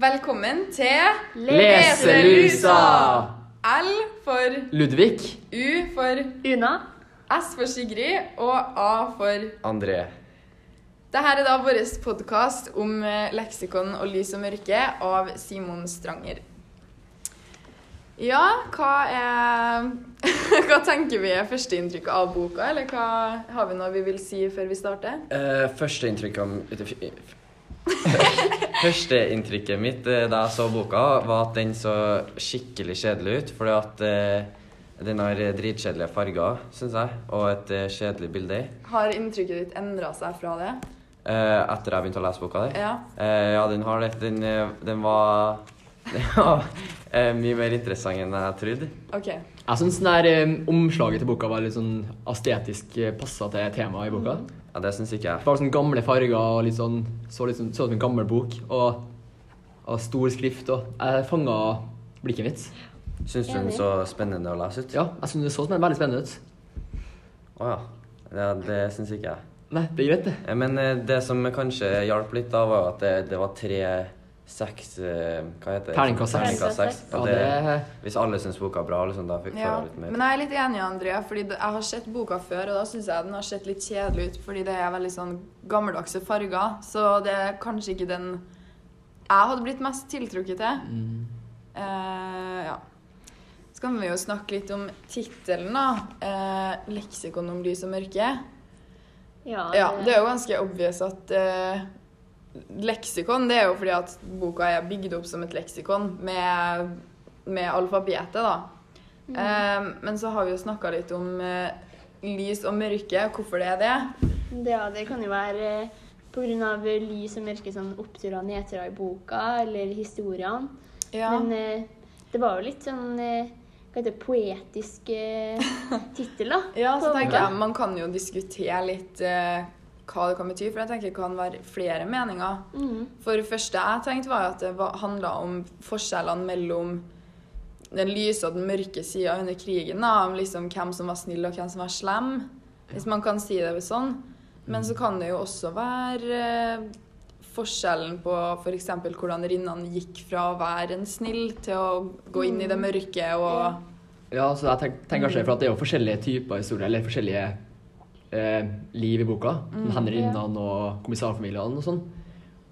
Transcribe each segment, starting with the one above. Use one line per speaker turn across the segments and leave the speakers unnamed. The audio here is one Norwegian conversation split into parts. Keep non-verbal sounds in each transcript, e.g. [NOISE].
Velkommen til
Leselusa!
L for
Ludvig.
U for
Una.
S for Sigrid og A for
André.
Dette er da vår podkast om eh, leksikon og lys og mørke av Simon Stranger. Ja, hva er [LAUGHS] Hva tenker vi er førsteinntrykket av boka, eller hva har vi noe vi vil si før vi starter?
Uh, Førsteinntrykket om [LAUGHS] Førsteinntrykket mitt eh, da jeg så boka, var at den så skikkelig kjedelig ut. Fordi at eh, den har eh, dritkjedelige farger, syns jeg, og et eh, kjedelig bilde i.
Har inntrykket ditt endra seg fra det?
Eh, etter jeg begynte å lese boka der.
Ja.
Eh, ja, den har det. Den, eh, den var [LAUGHS] Den var eh, mye mer interessant enn jeg trodde.
OK.
Jeg syns omslaget til boka var litt sånn estetisk passa til temaet i boka.
Ja, det syns ikke jeg.
Det var sånn gamle farger og litt sånn så litt sånn, så ut som en gammel bok. Og, og stor skrift. Og jeg fanga blikket mitt.
Syns du den så spennende å lese ut?
Ja, jeg syns det så spenn- veldig spennende ut.
Å ja. ja. Det syns ikke jeg.
Nei, det er greit, det.
Eh, Men eh, det som kanskje hjalp litt, da, var at det, det var tre seks eh, Hva heter det?
Terningkast seks.
Terningkast seks.
Ja,
Og det,
det,
hvis alle syns boka er bra, liksom, da fikk jeg
Ja,
litt mer.
men jeg er litt enig, Andrea, fordi det- jeg har sett boka før, og da syns jeg den har sett litt kjedelig ut, fordi det er veldig sånn gammeldagse farger, så det er kanskje ikke den jeg hadde blitt mest tiltrukket til.
Mm.
Eh, ja. Så kan vi jo snakke litt om tittelen, da. Eh, 'Leksikon om lys og mørke'.
Ja,
Ja, det er jo ganske obvious at eh, leksikon, det er jo fordi at boka er bygd opp som et leksikon med, med alfabetet, da.
Mm.
Eh, men så har vi jo snakka litt om eh, lys og mørke, hvorfor det er det.
det, ja, det kan jo være eh, pga. lys og mørke sånn oppturer og nedturer i boka eller historiene.
Ja.
Men eh, det var jo litt sånn eh, hva heter det, poetisk
[LAUGHS]
eh, tittel, da.
ja, så
på
tenker
boka.
jeg man kan jo diskutere litt eh, hva det kan bety, for jeg tenker det kan være flere meninger.
Mhm.
For det første jeg tenkte var at det var- handla om forskjellene mellom den lyse og den mørke sida under krigen. Da, om liksom hvem som var snill og hvem som var slem, hvis man kan si det sånn. Men så kan det jo også være eh, forskjellen på f.eks. hvordan rinnene gikk fra å være en snill til å gå inn i
Mm.
det mørke og
ja, så jeg tenk- tenker kanskje for at det er jo forskjellige typer historier, eller forskjellige eh, liv i boka. Mm, Henrinnene og kommissarfamiliene og sånn.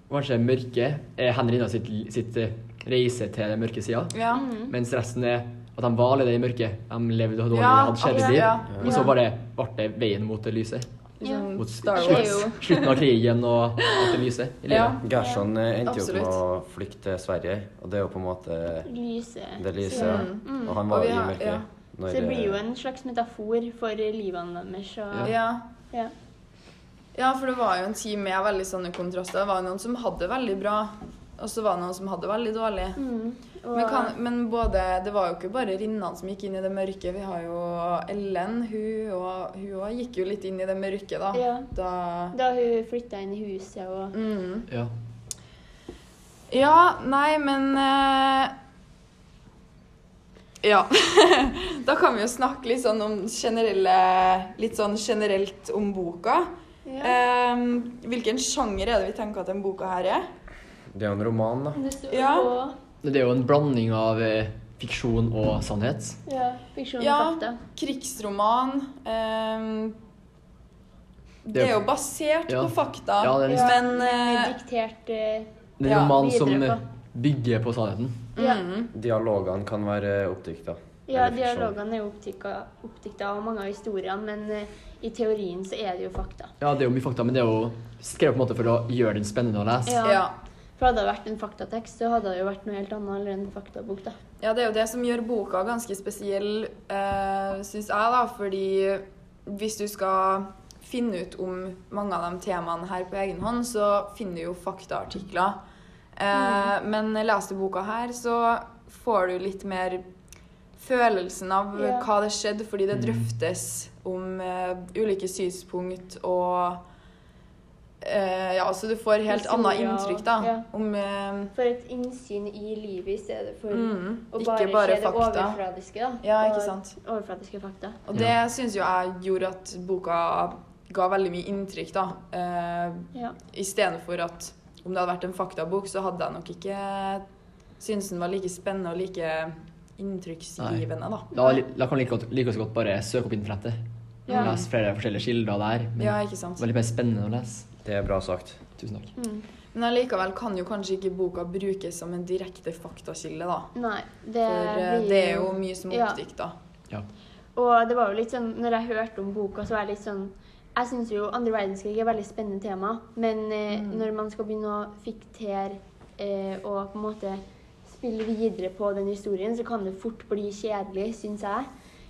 Og Kanskje mørke er Henrinna sitt, sitt eh, reise til den mørke sida.
Ja.
Mm.
Mens resten er at de var allerede i mørket. De levde dårlig,
Mm. Ja,
hadde
absolutt,
kjedelig
ja.
liv. Og så bare ble det veien mot det lyse.
Liksom
Mot
Star
Det
slutt-
er
Wars.
jo-
slutten av krigen og alt det lyse i
Ja.
livet.
Gerson eh, endte jo opp med å
Absolutt.
flykte til Sverige, og det er jo på en måte
Lyse.
det lyset.
Så, Mm.
ja. Og han
Og
var
vi
jo i
har-
mørket.
ja.
når,
så det blir jo
eh,
en slags metafor for livene deres. Og, ja.
Ja. Ja, for det var jo en tid med veldig sånne kontraster. Det var noen som hadde det veldig bra, og så var det noen som hadde det veldig dårlig.
Mhm. Og,
Men, kan, men både, det var jo ikke bare Rinnan som gikk inn i det mørke. Vi har jo Ellen. Hun og, hun også gikk jo litt inn i det mørke, da.
Ja.
da
Da hun flytta inn i huset og
mm.
Ja.
ja, nei, men eh, Ja. [LAUGHS] da kan vi jo snakke litt sånn om generelle Litt sånn generelt om boka. Ehm, hvilken sjanger er det vi tenker at den boka her er?
Det er jo en roman, da.
Det sto
Ja.
på
Det er jo en blanding av eh, fiksjon og sannhet.
ja, fiksjon og
Ja.
fakta.
krigsroman. ehm, det er jo basert
Ja.
på fakta,
Ja, det er
liksom-
men
Det er
eh,
diktert eh,
Det er en
Ja,
roman
videre
som
på.
eh, bygger på sannheten.
Mm.
Ja,
Dialogene kan være oppdikta.
ja
Eller fiksjon.
dialogene er jo oppdikka- oppdikta av mange av historiene, men eh, i teorien så er det jo fakta.
Ja, det er jo mye fakta, men det er jo skrevet på en måte for å gjøre den spennende å lese.
Ja.
ja.
For hadde det vært en faktatekst, så hadde det jo vært noe helt annet eller en faktabok, da.
ja, det er jo det som gjør boka ganske spesiell, uh, syns jeg, da, fordi hvis du skal finne ut om mange av de temaene her på egen hånd, så finner du jo faktaartikler.
Mm.
Eh, Men leser du boka her, så får du litt mer følelsen av
Ja.
hva det skjedde, fordi det drøftes om eh, ulike synspunkt og eh, Ja, så du får helt
Historier
annet
og-
inntrykk, da.
ja.
Om eh,
For et innsyn i livet i stedet for
Mm,
å
ikke
bare,
bare
se det
fakta.
overfladiske, da.
Ja, ikke
og
sant.
Overfladiske fakta.
Og det syns jo jeg gjorde at boka ga veldig mye inntrykk, da. Eh,
Ja.
Istedenfor at om det hadde vært en faktabok, så hadde jeg nok ikke syntes den var like spennende og like inntrykksgivende, da.
Da, da kan vi like, godt, like så godt bare søke opp internettet.
Ja.
Les flere forskjellige kilder der. Men
Ja, ikke sant.
det var litt mer spennende å lese.
Det er bra sagt.
Tusen takk.
Men allikevel kan jo kanskje ikke boka brukes som en direkte faktakilde, da.
Nei, det,
For eh,
blir
det er jo mye som
Ja.
oppdikta.
Ja.
Og det var jo litt sånn, når jeg hørte om boka, så var jeg litt sånn Jeg syns jo andre verdenskrig er et veldig spennende tema, men eh,
Mm.
når man skal begynne å fiktere eh, og på en måte spille videre på den historien, så kan det fort bli kjedelig, syns jeg.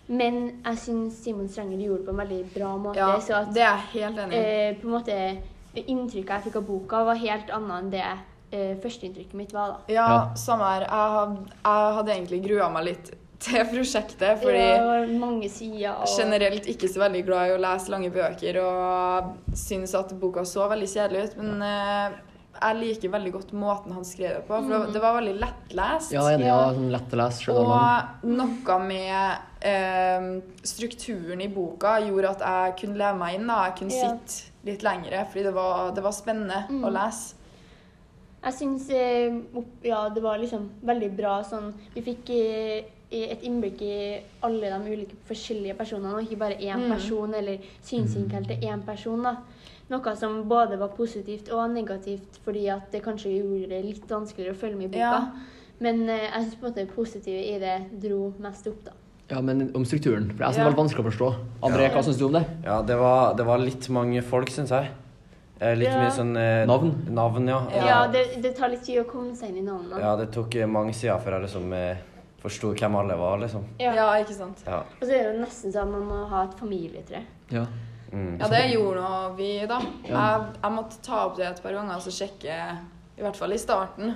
Men jeg syns Simon Strenger gjorde det på en veldig bra måte.
Ja,
så at
det er jeg helt enig i.
eh, på en måte det inntrykket jeg fikk av boka, var helt annet enn det eh, førsteinntrykket mitt var, da.
Ja,
ja.
samme her. Jeg, had- jeg hadde egentlig grua meg litt til prosjektet, fordi
det var mange sider og
generelt ikke så veldig glad i å lese lange bøker og syns at boka så veldig kjedelig ut, men eh, jeg liker veldig godt måten han skrev det på, for det
Mm.
var- det var veldig lettlest.
Ja, enig. Ja, sånn lett å lese. Selv om man-
Og noe med eh, strukturen i boka gjorde at jeg kunne leve meg inn. Da. Jeg kunne
Ja. Mm.
sitte litt lengre, fordi det var, det var spennende å lese.
Jeg syns eh, opp- ja, det var liksom veldig bra sånn Vi fikk eh, et innblikk i alle de ulike forskjellige personene, og ikke bare én person eller synsinnhold til én person. da. Noe som både var positivt og negativt, fordi at det kanskje gjorde det litt vanskeligere å følge med i boka.
Ja.
Men eh, jeg syns på en måte det positive i det dro mest opp, da.
Ja, men om strukturen. For jeg synes
Ja.
det var litt vanskelig å forstå. André, hva syns du om det?
Ja, det var, det var litt mange folk, syns jeg. Eh, litt
Ja.
mye sånn eh,
Navn?
Navn, ja.
Ja, det, det tar litt tid å komme seg inn i navnene.
Ja, det tok eh, mange sider før jeg liksom eh, forsto hvem alle var, liksom.
Ja.
Ja.
ikke sant.
Ja.
Og så er det jo nesten sånn at man må ha et familietre.
Ja.
Mm.
Ja, det gjorde nå vi, da. Jeg, jeg måtte ta opp det et par ganger og så sjekke, i hvert fall i starten.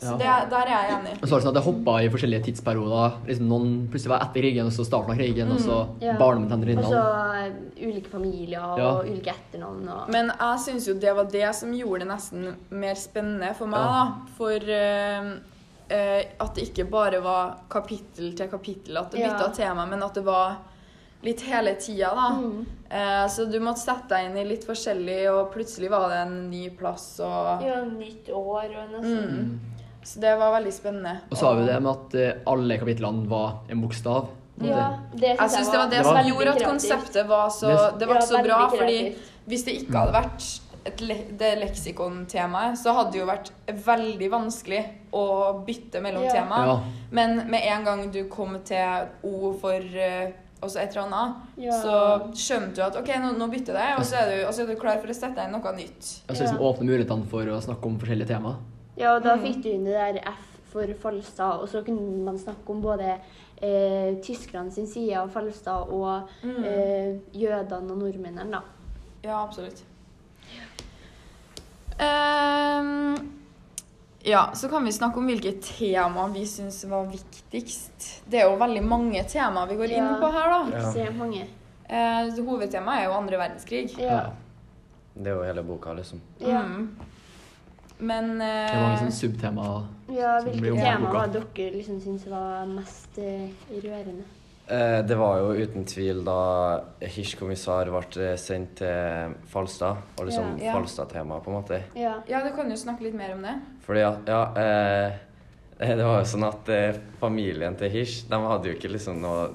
Så
Ja.
det, der er jeg enig.
Og så var det sånn at det hoppa i forskjellige tidsperioder. Liksom noen plutselig var etter krigen, og så starten av krigen, og så
Mm, Ja.
barndommen til
Og så
Henriette.
eh, ulike familier og
Ja.
ulike etternavn. og...
Men jeg syns jo det var det som gjorde det nesten mer spennende for meg,
Ja.
da. For eh, eh, at det ikke bare var kapittel til kapittel, at det
Ja.
bytta tema, men at det var litt hele tida, da.
Mm.
Eh, så du måtte sette deg inn i litt forskjellig, og plutselig var det en ny plass, og
Ja, nytt år og
Mm.
nesten.
Så det var veldig spennende.
Og så har vi det med at eh, alle kapitlene var en bokstav. på en
Ja,
måte.
det
Jeg syns det var det
Det
som
var-
gjorde at konseptet var så
Det-
Det ble
Ja,
så
veldig
bra,
kreativt.
fordi hvis det ikke hadde vært et le det leksikontemaet, så hadde det jo vært veldig vanskelig å bytte mellom
Ja.
tema.
Ja.
Men med en gang du kom til O for eh, også et eller annet,
Ja.
så skjønte du at OK, nå, nå bytter jeg, og så, er du, og så er du klar for å sette inn noe nytt.
Altså liksom
Ja.
åpne mulighetene for å snakke om forskjellige tema.
Ja, og da
Mm.
fikk du inn det der F for Falstad, og så kunne man snakke om både eh, tyskerne sin side av Falstad og eh, jødene og nordmennene, da.
Ja, absolutt. Ehm, ja, så kan vi snakke om hvilke tema vi syns var viktigst. Det er jo veldig mange tema vi går inn
Ja.
på her, da.
Ekstremt mange.
Eh, så hovedtemaet er jo andre verdenskrig.
Ja.
Det er jo hele boka, liksom.
Ja,
Mm. Men
Det var mange
eh,
sånne subtema.
ja
Så det blir
hvilke
jo
tema
boka.
var dere liksom syntes var mest eh, rørende?
Eh, det var jo uten tvil da Hirsch kommissar ble eh, sendt til Falstad, og liksom
Ja. Ja.
Falstad-temaet, på en måte.
Ja.
Ja, du kan jo snakke litt mer om det.
Fordi at, ja eh, [LAUGHS] Det var jo sånn at eh, familien til Hirsch, de hadde jo ikke liksom noe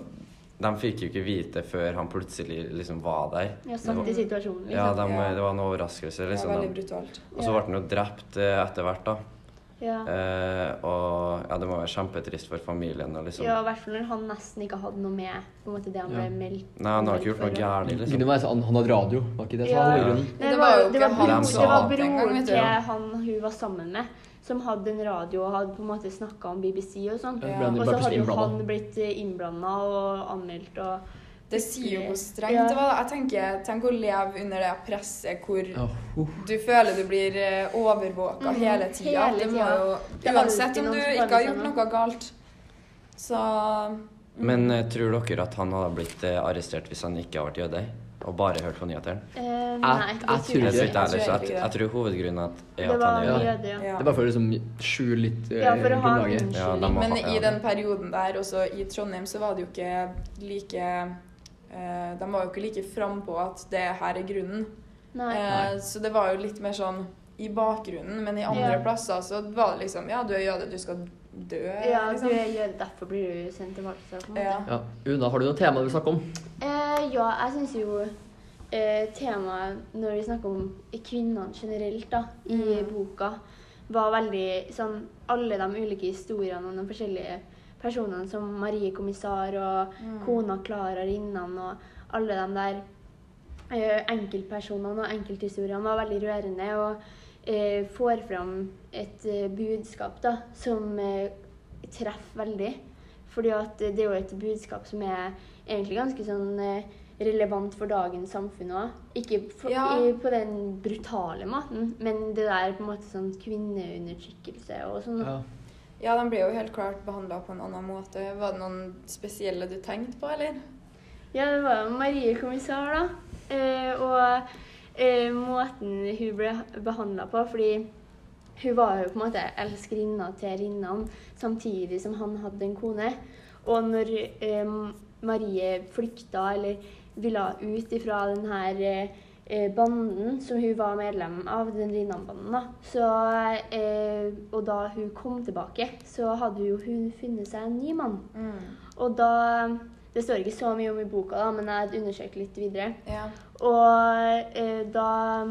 De fikk jo ikke vite før han plutselig liksom var der.
Ja, satt i situasjonen,
Ja,
liksom.
de,
Ja.
det var en overraskelse,
Det er
liksom.
veldig
De-
brutalt.
Og så ble han jo drept eh, etter hvert, da.
Ja.
Eh, og ja, det må være kjempetrist for familien. Og liksom.
Ja, i hvert fall når han nesten ikke hadde noe med på en måte det han ble
Ja.
meldt
Nei, han har ikke gjort noe
for.
gærent,
Det kunne være
liksom.
sånn, han hadde radio, var ikke det? som
Ja.
var grunnen?
Nei,
Det var jo
det
ikke
var
han
bror-
som
det var
sa
det engang,
broren
vet du.
til han hun var sammen med, som hadde en radio og hadde på en måte snakka om BBC og sånn.
Ja,
ble
han
Og
bare
så hadde jo
plutselig
han
innblandet.
blitt innblanda og anmeldt og
Det sier jo hvor strengt
Ja.
det var. da. Jeg tenker, Tenk å leve under det presset hvor
Ja, uh.
Du føler du blir overvåka
Mhm,
hele tida.
hele
Det må
tida.
jo
Det er
Uansett
alltid
om
noen
du
som
ikke
føler
har
seg
gjort
noe.
noe galt. Så mm.
Men eh, tror dere at han hadde blitt eh, arrestert hvis han ikke hadde vært jøde? Og bare hørt på nyhetene?
eh, Nei,
jeg
det
tror
Jeg
ikke
tror
det.
ikke heller, så jeg,
ikke det.
jeg tror hovedgrunnen at, er
Det
at han
var
er jøde.
jøde, ja.
ja.
Det er bare for å liksom skjule litt eh,
Ja, for å ha en
grunnlaget.
Ja, de
unnskyldning.
må
Men
ha-
i
ja.
den perioden der, også i Trondheim, så var det jo ikke like eh, De var jo ikke like frampå at Eh, det her er grunnen.
Nei.
Eh, så det var jo litt mer sånn i bakgrunnen, men i andre
Ja.
plasser så var det liksom Ja, du er jøde, du skal dø,
Ja, du
liksom.
er jøde, derfor blir du sendt tilbake. Så, på en måte.
Ja.
Ja. Una, har du noe tema du vil snakke om?
Eh, ja, jeg syns jo eh, temaet når vi snakker om eh, kvinnene generelt da, i
Mm.
boka, var veldig sånn Alle de ulike historiene om de forskjellige personene som Marie kommissar og kona Klara Rinnan og alle de der eh, enkeltpersonene og enkelthistoriene var veldig rørende og eh, får fram et eh, budskap da, som eh, treffer veldig. Fordi at det er jo et budskap som er egentlig ganske sånn eh, relevant for dagens samfunn òg. Ikke for,
Ja.
i, på den brutale måten, men det der på en måte sånn kvinneundertrykkelse og sånn.
Ja.
ja, de blir jo helt klart behandla på en annen måte. Var det noen spesielle du tenkte på, eller?
Ja, det var jo Marie kommissar, da. Eh, og eh, måten hun ble behandla på, fordi hun var jo på en måte elskerinna til Rinnan, samtidig som han hadde en kone. Og når eh, Marie flykta, eller ville ut ifra den her eh, eh, banden som hun var medlem av, den Rinnan-banden, da. Så, eh, og da hun kom tilbake, så hadde jo hun funnet seg en ny mann. Og da Det står ikke så mye om i boka, da, men jeg undersøkte litt videre.
Ja.
Og eh, da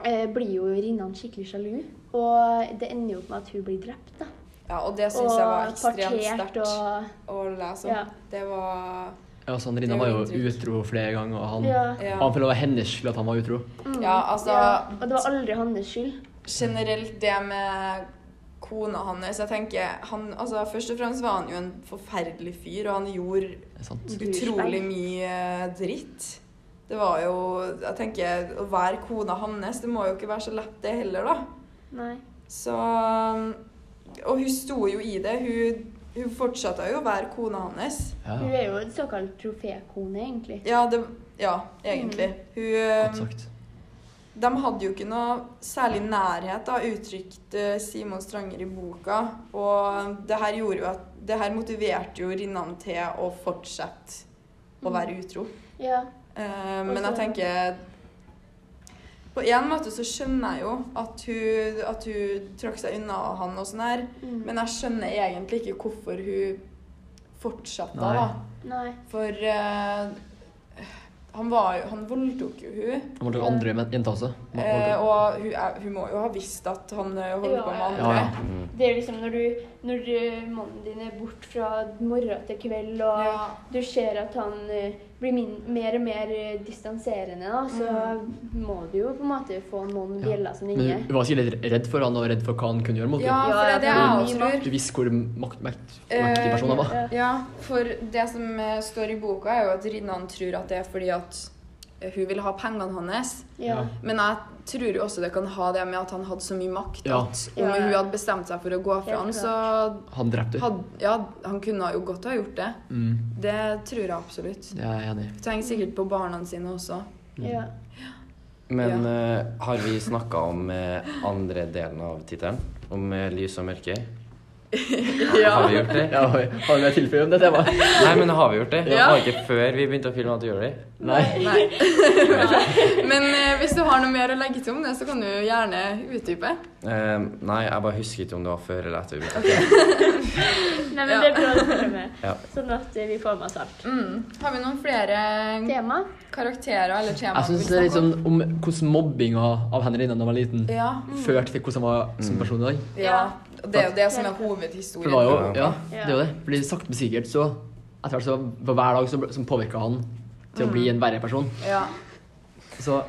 eh, blir jo Rinnan skikkelig sjalu, og det ender jo opp med at hun blir drept. da.
ja, og det syns
Og
jeg var ekstremt
partert
sterkt
og
å lese om.
Ja.
Det var
Ja, så han Rinna
Det
var
er
jo
inntrykk.
utro flere ganger, og han,
Ja.
Ja.
han følte det var hennes skyld at han var utro.
mm,
Ja, altså
ja, Og det var aldri hans skyld.
generelt det med kona hans Jeg tenker han, altså Først og fremst var han jo en forferdelig fyr, og han gjorde
Det er sant.
utrolig mye eh, dritt. Det var jo Jeg tenker å være kona hans, det må jo ikke være så lett, det heller, da.
Nei.
Så um, Og hun sto jo i det. Hun, hun fortsatte jo å være kona hans.
Ja,
Hun er jo en såkalt trofékone, egentlig.
Ja, det Ja, egentlig.
godt
Hun
sagt.
De hadde jo ikke noe særlig nærhet, da, uttrykte Simon Stranger i boka. Og det her gjorde jo at Det her motiverte jo Rinnan til å fortsette å være utro.
Ja.
Eh, men
Og
jeg
så-
tenker På en måte så skjønner jeg jo at hun, at hun trakk seg unna han og sånn her,
Mm.
men jeg skjønner egentlig ikke hvorfor hun fortsatte,
Nei.
da.
Nei.
For eh, han var jo Han voldtok jo hun.
Han var til andre men- jenter også. Han var
Eh,
til-
og hun, er, hun må jo ha visst at han eh, holder
Ja,
på med
ja.
andre.
Ja, ja.
Mm.
Det er liksom når du, når du, mannen din er borte fra morgen til kveld, og
Ja.
du ser at han eh, blir min, mer og mer eh, distanserende, da, så må du jo på en måte få noen bjeller som
Men
ringer.
hun var sikkert litt redd for han og redd for hva han kunne gjøre mot
Ja,
henne.
for det er det
Ja,
jeg
for
også
det er
tror.
Du visste hvor makt, makt,
Eh,
mektig personen han var.
ja.
Ja, for det som eh, står i boka, er jo at Rinnan tror at det er fordi at eh, hun vil ha pengene hans.
Ja.
Men jeg tror jo også det kan ha det med at han hadde så mye makt
Ja.
at om
Ja, ja.
hun hadde bestemt seg for å gå
Helt
fra han, så
Han drepte henne.
hadde Ja, han kunne jo godt ha gjort det.
Mm,
Det tror jeg absolutt.
det er jeg enig i.
Hun tenker sikkert på barna sine også.
Ja.
Men eh, har vi snakka om eh, andre delen av tittelen? Om eh, lys og mørke? Har vi gjort det?
Ja, har du mer å tilføye om det temaet?
Nei, men har vi gjort det? Det
Ja.
var ikke før vi begynte å filme at vi gjorde det.
Nei.
Nei. [LAUGHS] Men eh, hvis du har noe mer å legge til om det, så kan du gjerne utdype.
Eh, nei, jeg bare husker ikke om det var før eller etter vi begynte.
Nei, men
Ja.
det er bra å følge med,
Ja.
sånn at eh, vi får med oss alt.
Mm. Har vi noen flere
Tema?
karakterer eller temaer?
Jeg syns det er litt sånn om hvordan mobbinga av Henry da han var liten,
Ja.
førte til hvordan han var som person i dag.
ja. Og det er jo det som er
For
hovedhistorien.
det var jo
Ja.
Ja, det er jo det. Fordi sakte, men sikkert så Etter hvert så var hver dag som, som påvirka han til å bli en verre person.
Ja.
Så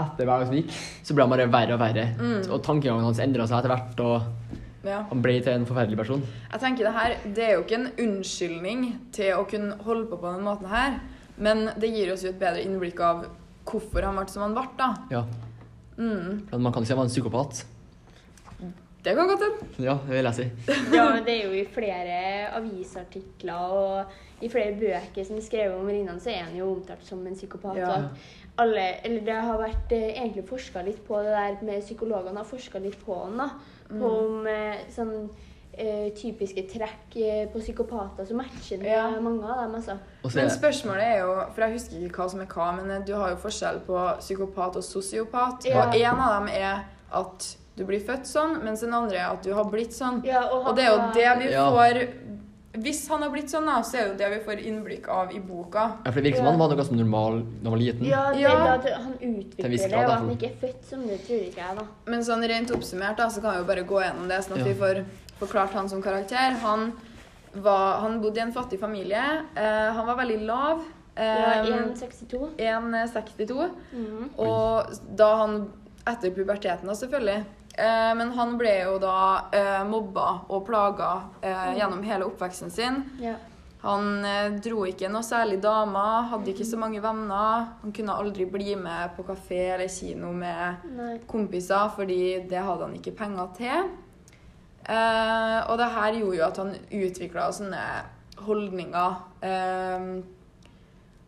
etter hver dag som gikk, så ble han bare verre og verre.
Mm.
Og tankegangen hans endra seg etter hvert, og
Ja.
han ble til en forferdelig person.
Jeg tenker det her, det er jo ikke en unnskyldning til å kunne holde på på den måten her, men det gir oss jo et bedre innblikk av hvorfor han ble som han ble, da.
Ja.
Mm.
Men man kan jo si han var en psykopat.
Det kan godt hende.
Ja, det vil jeg si.
Ja, men det er jo i flere avisartikler og i flere bøker som er skrevet om Rinnan, så er han jo omtalt som en psykopat.
Ja.
og at Alle, eller det har vært eh, egentlig forska litt på det der med psykologene har forska litt på han, da.
Mm.
På om eh, sånn eh, typiske trekk eh, på psykopater som matcher med
Ja.
mange av dem, altså.
Og så
Men spørsmålet er jo, for jeg husker ikke hva som er hva, men eh, du har jo forskjell på psykopat og sosiopat,
Ja.
og en av dem er at du blir født sånn, mens den andre er at du har blitt sånn.
Ja, og, han
Og det er jo
var-
det vi
Ja.
får Hvis han har blitt sånn, da, så er det jo det vi får innblikk av i boka.
Ja, for det virker som han var noe ganske normal da han var liten.
Ja, det,
Ja.
da, det, han
Til en
utvikler
viss
det,
grad,
og
da.
at han ikke er født som det, tror ikke jeg, da.
Men sånn rent oppsummert da, så kan vi jo bare gå gjennom det, sånn at
Ja.
vi får forklart han som karakter. Han, var, han bodde i en fattig familie. Eh, han var veldig lav.
Ja,
Eh,
1,62.
1,62.
Mhm.
Og da han Etter puberteten, da, selvfølgelig. Eh, men han ble jo da eh, mobba og plaga eh, gjennom hele oppveksten sin.
Ja.
Han eh, dro ikke noe særlig damer, hadde ikke så mange venner. Han kunne aldri bli med på kafé eller kino med
Nei.
kompiser, fordi det hadde han ikke penger til. Eh, og det her gjorde jo at han utvikla sånne holdninger eh,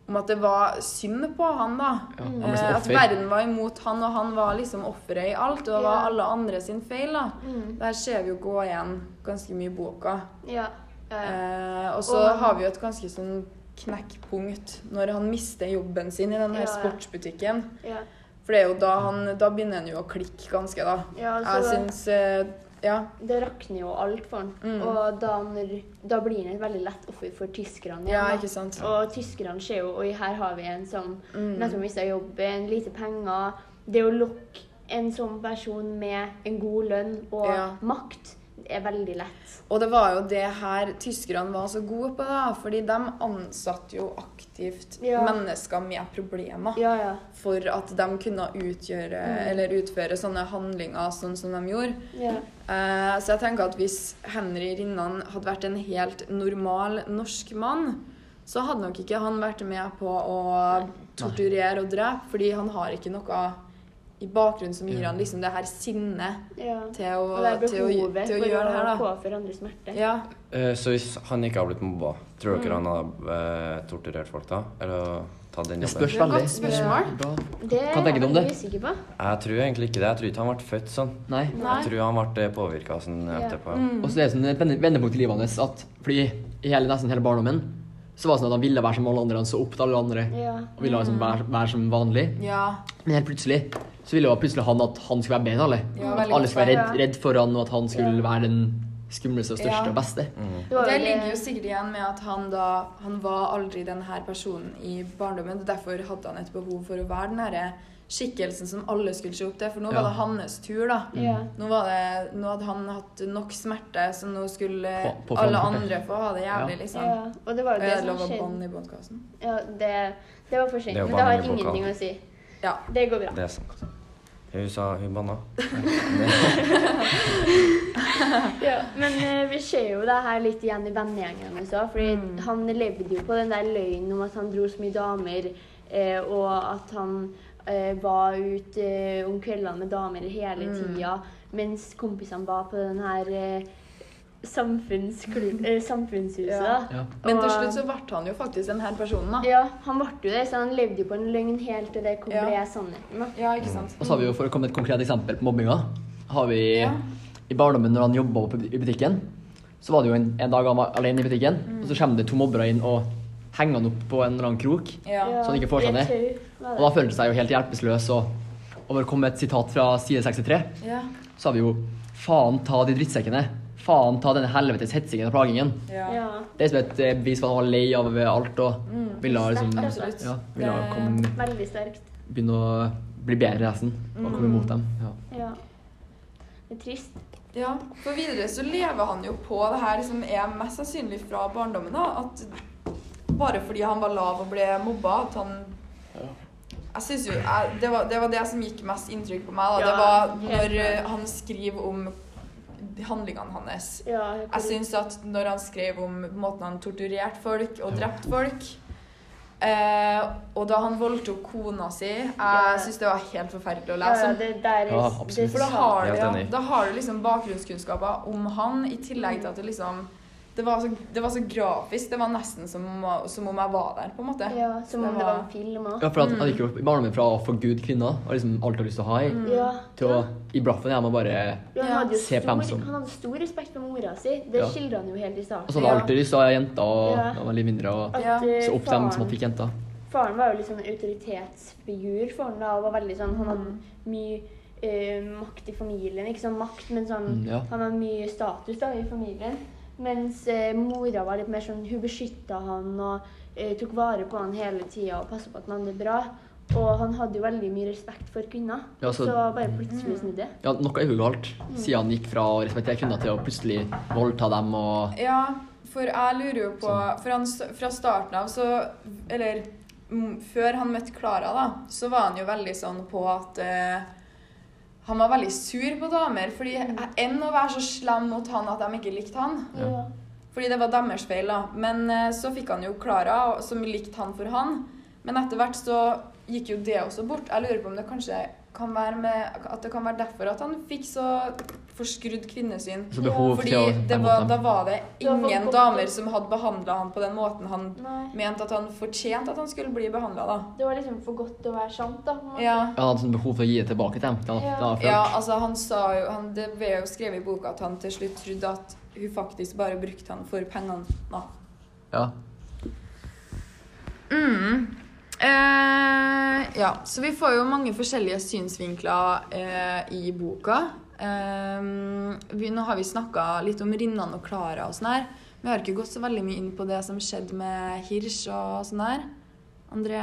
om at det var synd på han, da.
Ja, han ble
Eh,
sånn
at
offer.
verden var imot han, og han var liksom offeret i alt. Og det
Ja.
var alle andre sin feil, da.
Mm.
Det her ser vi jo gå igjen ganske mye i boka.
Ja. ja.
Eh, og så
Og-
har vi jo et ganske sånn knekkpunkt når han mister jobben sin i den her
Ja, ja.
sportsbutikken.
ja.
For det er jo da han Da begynner han jo å klikke ganske, da.
ja
Jeg
så,
syns eh, Ja.
det rakner jo alt for han.
Mm.
Og da, når, da blir han et veldig lett offer for tyskerne.
Ja,
igjen, da.
ikke sant?
Og tyskerne ser jo Oi, her har vi en som
Mm.
nettopp mista jobben, lite penger. Det å lokke en sånn person med en god lønn og
Ja.
makt er veldig lett.
Og det var jo det her tyskerne var så gode på, da. Fordi de ansatte jo aktivt
Ja.
mennesker med problemer.
Ja, Mm. ja.
For at de kunne utgjøre, eller utføre sånne handlinger sånn som de gjorde.
ja.
Eh, så jeg tenker at hvis Henry Rinnan hadde vært en helt normal norsk mann, så hadde nok ikke han vært med på å torturere og drepe, fordi han har ikke noe i bakgrunnen som gir
Ja.
han liksom det her sinnet
ja.
til å,
Og det er
til å,
behovet
til å
for
gjøre det her,
å
da.
påføre andre smerte.
Ja.
Eh, Så hvis han ikke har blitt mobba, tror dere
Mm.
han hadde eh, torturert folk da? Eller tatt den
Det
jobben?
spørs
Det er et
veldig.
godt spørsmål.
Bra.
Det
Hva tenker du om det?
er jeg usikker på.
Jeg tror egentlig ikke det. Jeg tror ikke han ble født sånn.
Nei.
Nei. Mm.
Jeg tror han ble påvirka sånn
Ja. Mm.
etterpå.
Og så er det sånn et vende- vendepunkt i livet hans at fordi i hele, nesten hele barndommen så var det sånn at han ville være som alle andre, han så opp til alle andre
Ja.
og ville liksom være, være som vanlig.
Ja.
Men helt plutselig så ville jo plutselig han at han skulle være bedre enn alle.
Ja,
at
veldig
alle
godt
skulle være
poeng,
redd,
ja.
redd for han, og at han skulle
Ja.
være den skumleste og største
Ja.
og beste.
Mm.
Det var
Det
jo
ligger jo sikkert igjen med at han da Han var aldri den her personen i barndommen. og Derfor hadde han et behov for å være den herre skikkelsen som alle skulle se opp til. For nå
Ja.
var det hans tur, da.
ja.
Nå, var det, nå hadde han hatt nok smerte, så nå skulle
På- på
alle
framførte.
andre få ha det jævlig, liksom.
ja. Og det var
Og
jo det
jeg hadde lov
som
å
skjedde.
bånd i podkasten.
Ja, det, det var for sent.
Det er jo
Men det har
barn i boka.
ingenting å si.
Ja.
Det går bra.
Det er sant. Hun sa hun banna.
Ja, men eh, vi ser jo det her litt igjen i vennegjengen hans òg. Fordi
Mm.
han levde jo på den der løgnen om at han dro så mye damer, eh, og at han eh, var ute eh, om kveldene med damer hele
Mm.
tida, mens kompisene var på den her eh, samfunnsklu- eh, samfunnshuset.
Ja.
da.
Ja.
Men til
Og-
slutt så ble han jo faktisk den her personen, da.
Ja, han ble jo det, så han levde jo på en løgn helt til det kom
Ja.
ble sannheten. da.
Ja, ikke sant.
Og så har vi jo, for å komme med et konkret eksempel på mobbinga, har vi
Ja.
i barndommen når han jobba oppe i butikken, så var det jo en, en dag han var alene i butikken,
Mm.
og så kommer det to mobbere inn og henger han opp på en eller annen krok.
Ja.
Ja,
Så han ikke får seg
i et
det.
tau, var
Og da føler han seg jo helt hjelpeløs. Og, og bare kom med et sitat fra side 63,
Ja.
så har vi jo Faen ta de drittsekkene. Faen ta denne helvetes hetsingen og plagingen.
ja.
Ja.
Det er som et eh, bevis på at han var lei av alt og ville ha liksom
Mm, Sterkt,
Absolutt.
ja, ville ha
Det-
komme,
Veldig sterkt.
begynne å bli bedre i resten og komme
Mm.
imot dem. Ja.
Ja. Det er trist.
Ja, for videre så lever han jo på det her som er mest sannsynlig fra barndommen. da, at Bare fordi han var lav og ble mobba, at han jeg synes jo, jeg, det, var, det var det som gikk mest inntrykk på meg. da,
Ja,
Det var
helt
når
klart.
eh, han skriver om handlingene hans.
Ja,
Jeg syns at når han skrev om måten han torturerte folk og drepte folk eh, Og da han voldtok kona si,
Ja.
jeg syns det var helt forferdelig å
ja,
lese
ja,
om.
det der er
Ja, absolutt.
det er
For da
sant.
har, du,
Helt
ja,
enig.
da har du liksom bakgrunnskunnskaper om han, i tillegg til at det liksom Det var så, det var så grafisk. Det var nesten som, om- som om jeg var der, på en måte.
Ja, som om det var en film òg.
ja, for at han gikk jo i barndommen fra å forgude kvinner og liksom alt du har lyst til å ha i,
Mm.
Ja.
til å i blaffen er man bare
Ja, han, hadde jo
Se på
stor,
dem som-
han hadde stor respekt for mora si. Det
Ja.
skildrer han jo helt i starten.
Og så hadde han alltid lyst til å ha jenter og
Ja.
da var han litt mindre og
At,
Ja.
eh,
Altså, så opp til dem som
faren-
han fikk jenter.
Mm. Faren var jo litt sånn autoritetsfigur for han da, og var veldig sånn Han hadde mye eh, makt i familien. Ikke sånn makt, men sånn
Mm, ja.
Han har mye status da i familien. Mens eh, mora var litt mer sånn Hun beskytta han og eh, tok vare på han hele tida og passa på at han hadde det bra. Og han hadde jo veldig mye respekt for kvinner.
Ja, altså- så-
så, bare plutselig snudde det.
Ja, noe er jo galt, siden han gikk fra å respektere kvinner til å plutselig voldta dem og
Ja, for jeg lurer jo på
Sånn.
For han, s- fra starten av så Eller mm, før han møtte Klara, da, så var han jo veldig sånn på at eh, han var veldig sur på damer, fordi enn å være så slem mot han at de ikke likte han.
Ja.
Fordi det var deres feil, da. Men eh, så fikk han jo Klara, og- som likte han for han. Men etter hvert så gikk jo det også bort. Jeg lurer på om det kanskje kan være med At det kan være derfor at han fikk så forskrudd kvinnesyn.
så behov
Fordi
til å
det
være
var,
mot
da
dem.
var det
Det var for
ingen
godt.
damer som hadde behandla han på den måten han
Nei.
mente at han fortjente at han skulle bli behandla, da.
Det var liksom for godt til å være sant, da. på en måte.
Ja.
Ja, han hadde sånn behov for å gi det tilbake til dem. Det han- det han hadde
Ja,
følt.
altså han sa jo han, Det ble jo skrevet i boka at han til slutt trodde at hun faktisk bare brukte han for pengene. da.
Ja.
Mm. Eh, ja, så vi får jo mange forskjellige synsvinkler eh, i boka. Eh, vi, nå har vi snakka litt om Rinnan og Klara og sånn her. Vi har ikke gått så veldig mye inn på det som skjedde med Hirsch og sånn her. André,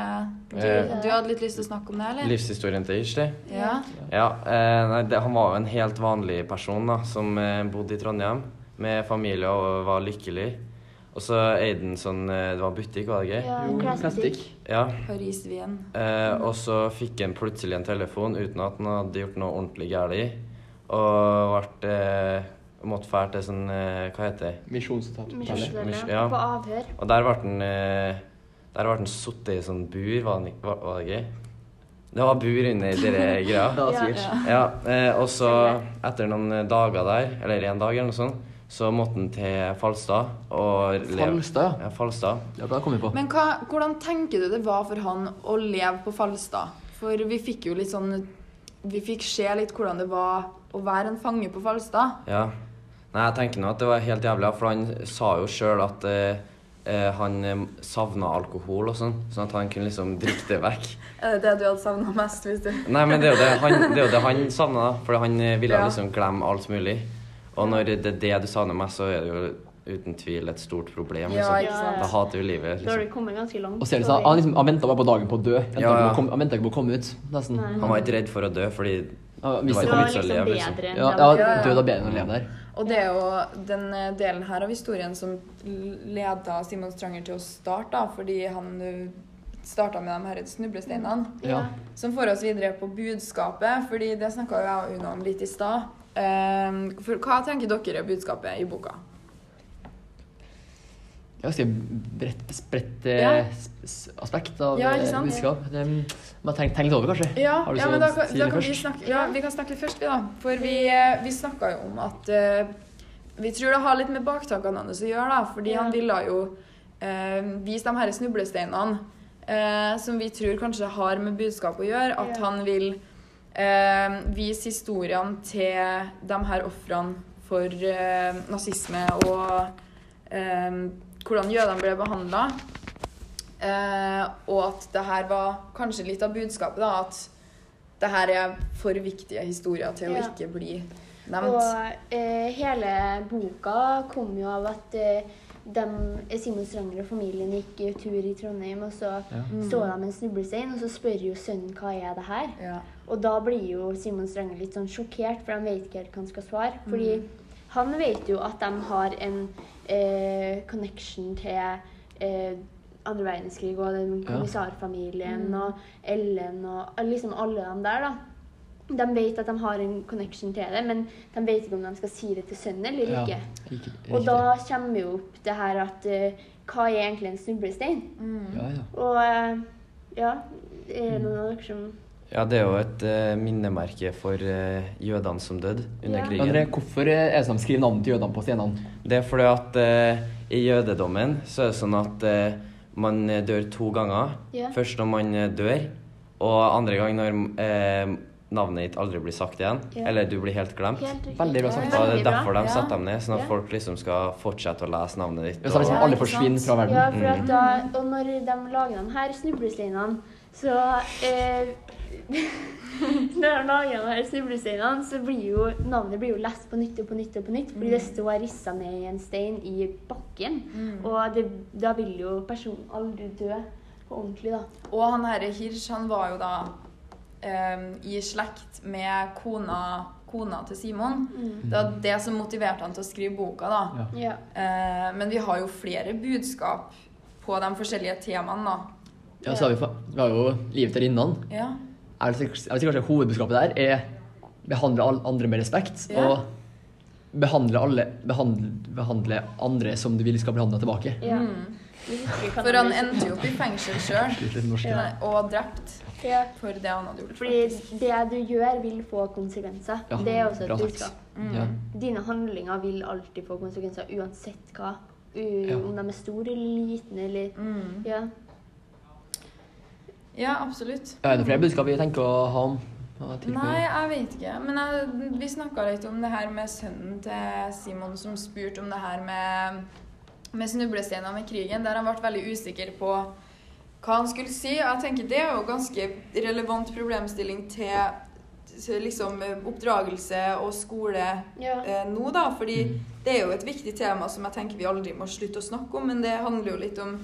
du,
Eh.
du hadde litt lyst til å snakke om det, eller?
Livshistorien til Hirsch, det.
Ja.
Ja, eh, nei, det, han var jo en helt vanlig person da, som eh, bodde i Trondheim med familie og var lykkelig. Og så eide han sånn eh, Det var butikk, var det ikke?
Ja,
Jo,
Plastikk.
plastikk.
Ja.
Paris-Wien.
Eh, og så fikk han plutselig en telefon uten at han hadde gjort noe ordentlig galt. Og ble, eh, måtte fære til sånn eh, Hva heter det?
Misjonshotellet.
Misjonshotellet.
Misjon- ja.
På avhør.
Og der ble han eh, Der ble han sittet i sånn bur, var, han, ikke- var, var det ikke? Det var bur under dere greia.
Ja,
Ja.
sikkert.
Ja, eh, og så etter noen dager der, eller en dag eller noe sånt, så måtte han til Falstad og leve-
Falstad, ja.
Ja, Falstad.
Ja, da kom vi på.
Men hva, hvordan tenker du det var for han å leve på Falstad? For vi fikk jo litt sånn Vi fikk se litt hvordan det var å være en fange på Falstad.
Ja. Nei, jeg tenker nå at det var helt jævlig, for han sa jo sjøl at eh, eh, han savna alkohol og sånn, sånn at han kunne liksom drikke det vekk.
Er Eh, det det du hadde savna mest? hvis du...
Nei, men det er jo det han, det er jo det han savna, da. For han eh, ville
Ja.
liksom glemme alt mulig. Og når det er det du savner mest, så er det jo uten tvil et stort problem.
Ja,
Liksom.
ikke sant?
Da hater du livet.
Da har
Liksom.
du kommet ganske langt.
Og så er det
så
sånn, han, liksom, han ventet bare på dagen på å dø. Han
Ja,
ventet ikke
ja.
på å komme- han ventet ikke på å komme ut, nesten.
Nei.
Han var ikke redd for å dø, fordi
Han
Det
visste
var
det
ikke.
var
litt så
liksom
lev,
bedre
liksom.
enn
Ja,
det
ja,
var.
ja.
død er bedre enn å leve der.
Og det er jo den eh, delen her av historien som leda Simon Stranger til å starte, da, fordi han starta med de her snublesteinene.
Ja.
Som får oss videre på budskapet, fordi det snakka jo jeg og Una om litt i stad. Eh, for hva tenker dere er budskapet i boka?
Ja, skal jeg bredt, spredt eh,
Ja.
s- s- aspekt av
Ja,
ja,
ikke sant?
budskap. Det, mm, man tenker tenk litt over, kanskje.
Ja,
Har du
ja
så
men da, kan-
si
da
det
kan vi
først?
snakke Ja, vi kan snakke litt først, vi, da. For vi, eh, vi snakka jo om at eh, Vi tror det har litt med baktakene hans å gjøre, da. Fordi
Ja.
han ville jo eh, vise de her snublesteinene eh, som vi tror kanskje har med budskap å gjøre. At
Ja.
han vil eh, vise historiene til de her ofrene for eh, nazisme og eh, hvordan jødene ble behandla. Eh, og at det her var kanskje litt av budskapet, da. At det her er for viktige historier til å
Ja.
ikke bli nevnt.
Og eh, hele boka kom jo av at eh, dem- eh, Simon Stranger og familien gikk eh, tur i Trondheim, og så
Ja.
står de med en snublestein, og så spør jo sønnen hva er det her?
Ja.
Og da blir jo Simon Stranger litt sånn sjokkert, for han vet ikke helt hva han skal svare.
Mm.
Fordi han vet jo at de har en eh, connection til eh, andre verdenskrig og den
Ja. Mm.
kommissarfamilien og Ellen og alle- liksom alle de der, da. De vet at de har en connection til det, men de vet ikke om de skal si det til sønnen eller
Ja,
ikke.
riktig.
Og da kommer jo opp det her at eh, hva er egentlig en snublestein?
ja, ja.
Og eh, ja, er det noen av dere som
Ja, det er jo et eh, minnemerke for eh, jødene som dødde under
Ja.
krigen.
André, hvorfor eh, er det sånn de skriver navnet til jødene på stenene?
Det er fordi at eh, i jødedommen så er det sånn at eh, man dør to ganger.
Ja.
Først når man eh, dør, og andre gang når eh, navnet ditt aldri blir sagt igjen.
Ja.
Eller du blir helt glemt.
Helt riktig.
Veldig bra sagt.
Og det
Veldig
er
bra.
derfor de
Ja.
setter dem ned, sånn at
Ja.
folk liksom skal fortsette å lese navnet ditt.
Ja, så liksom
Ja,
alle
ikke sant?
Mm. forsvinner fra verden.
Ja, for at da, og når de lager de her snublesteinene, Så eh, [LAUGHS] Når han lager de her snublesteinene, så blir jo navnet blir jo lest på nytt og på nytt og på nytt, fordi det står rissa ned i en stein i bakken. Og det, da vil jo personen aldri dø på ordentlig, da.
Og han herre Hirsch, han var jo da eh, i slekt med kona, kona til Simon.
Mm.
Det var det som motiverte han til å skrive boka, da.
Ja.
Ja.
Eh, men vi har jo flere budskap på de forskjellige temaene, da.
Ja, så har vi, fa- vi har jo livet til rinnan.
Ja.
Jeg vil si jeg vil si kanskje hovedbudskapet der er behandle alle andre med respekt.
Ja.
Og behandle, alle, behandle, behandle andre som du vil skal bli handla tilbake.
ja. Vi husker hva
For han
blir-
endte jo opp i fengsel sjøl,
Litt litt norsk.
Ja.
og drept
ja.
for det han hadde gjort.
Fordi det du gjør, vil få konsekvenser.
Ja,
Det er også et
bra sagt.
budskap.
mm.
Ja.
Dine handlinger vil alltid få konsekvenser, uansett hva. U
Ja.
Om de er store eller liten eller
Mm.
Ja.
Ja, absolutt.
Ja, Er det flere budskap vi tenker å ha om? Ja, til-
Nei, jeg vet ikke. Men jeg, vi snakka litt om det her med sønnen til Simon som spurte om det her med, med snublesteiner med krigen, der han ble veldig usikker på hva han skulle si. Og jeg tenker det er jo ganske relevant problemstilling til, til liksom oppdragelse og skole
ja.
eh, nå, da. Fordi det er jo et viktig tema som jeg tenker vi aldri må slutte å snakke om, men det handler jo litt om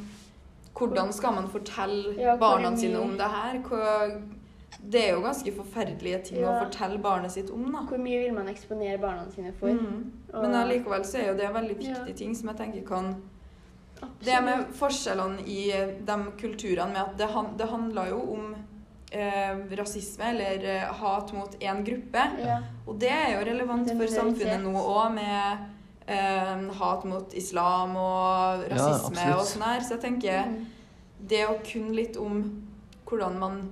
hvordan skal man fortelle
Ja, hvor
barna
mye-
sine om det her? Hva, det er jo ganske forferdelige ting å
Ja.
fortelle barnet sitt om, da.
Hvor mye vil man eksponere barna sine for?
Mm. Men
Og-
allikevel så er jo det en veldig viktig
Ja.
ting som jeg tenker kan Det med forskjellene i eh, de kulturene med at det, han, det handla jo om eh, rasisme eller eh, hat mot én gruppe.
ja.
Og det er jo relevant
Den
for samfunnet
realitet.
nå òg, med eh, hat mot islam og
Ja,
rasisme og
absolutt.
sånn her. Så jeg tenker det å kunne litt om hvordan man